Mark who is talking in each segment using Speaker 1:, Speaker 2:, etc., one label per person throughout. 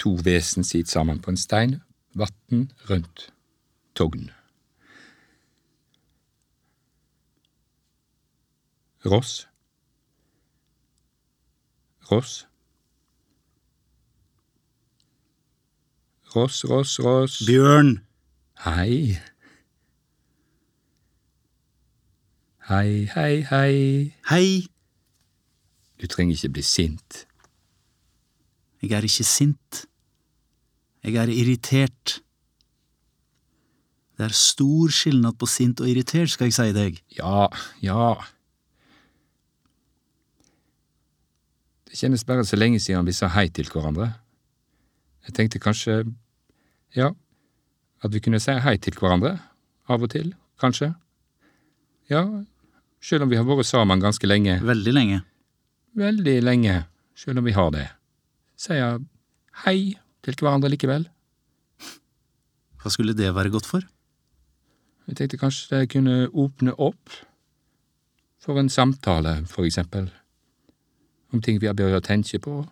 Speaker 1: to vesen sit saman på en stein, vatn rundt Togn. Ross Ross Ross, Ross, Ross
Speaker 2: Bjørn.
Speaker 1: Hei. Hei, hei, hei.
Speaker 2: Hei.
Speaker 1: Du trenger ikke bli sint.
Speaker 2: Jeg er ikke sint. Jeg er irritert. Det er stor skillnad på sint og irritert, skal jeg si deg.
Speaker 1: Ja, ja. Det kjennes bare så lenge siden vi sa hei til hverandre. Jeg tenkte kanskje, ja, at vi kunne si hei til hverandre, av og til, kanskje. Ja, selv om vi har vært sammen ganske lenge,
Speaker 2: Veldig lenge.
Speaker 1: veldig lenge, selv om vi har det. Sier hei til hverandre likevel.
Speaker 2: Hva skulle det være godt for?
Speaker 1: Jeg tenkte kanskje det kunne åpne opp for en samtale, for eksempel, om ting vi har begynt å tenke på,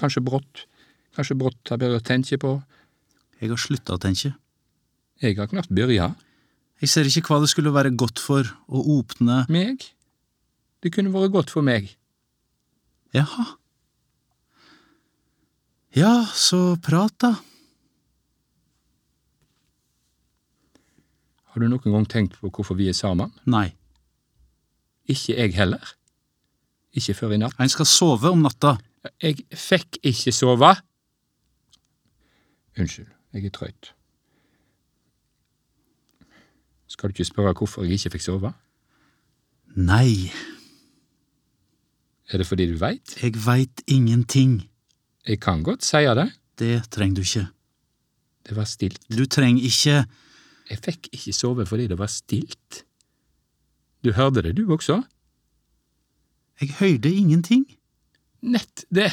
Speaker 1: kanskje brått, kanskje brått har begynt å tenke på,
Speaker 2: Jeg har slutta å tenke.
Speaker 1: jeg har knapt begynt,
Speaker 2: Jeg ser ikke hva det skulle være godt for å åpne
Speaker 1: meg, det kunne vært godt for meg,
Speaker 2: Jaha. Ja, så prat, da.
Speaker 1: har du noen gang tenkt på hvorfor vi er sammen?
Speaker 2: Nei.
Speaker 1: Ikke jeg heller, ikke før i natt.
Speaker 2: En skal sove om natta.
Speaker 1: Jeg fikk ikke sove. Unnskyld, jeg er trøyt. Skal du ikke spørre hvorfor jeg ikke fikk sove?
Speaker 2: Nei,
Speaker 1: Er det fordi du veit?
Speaker 2: jeg veit ingenting.
Speaker 1: Jeg kan godt si det.
Speaker 2: Det trenger du ikke.
Speaker 1: Det var stilt.
Speaker 2: Du trenger ikke
Speaker 1: Jeg fikk ikke sove fordi det var stilt. Du hørte det, du også?
Speaker 2: Jeg høyde ingenting.
Speaker 1: Nett det!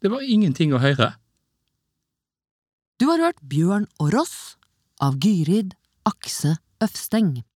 Speaker 1: Det var ingenting å høre.
Speaker 3: Du har hørt Bjørn og Ross av Gyrid Akse Øfsteng.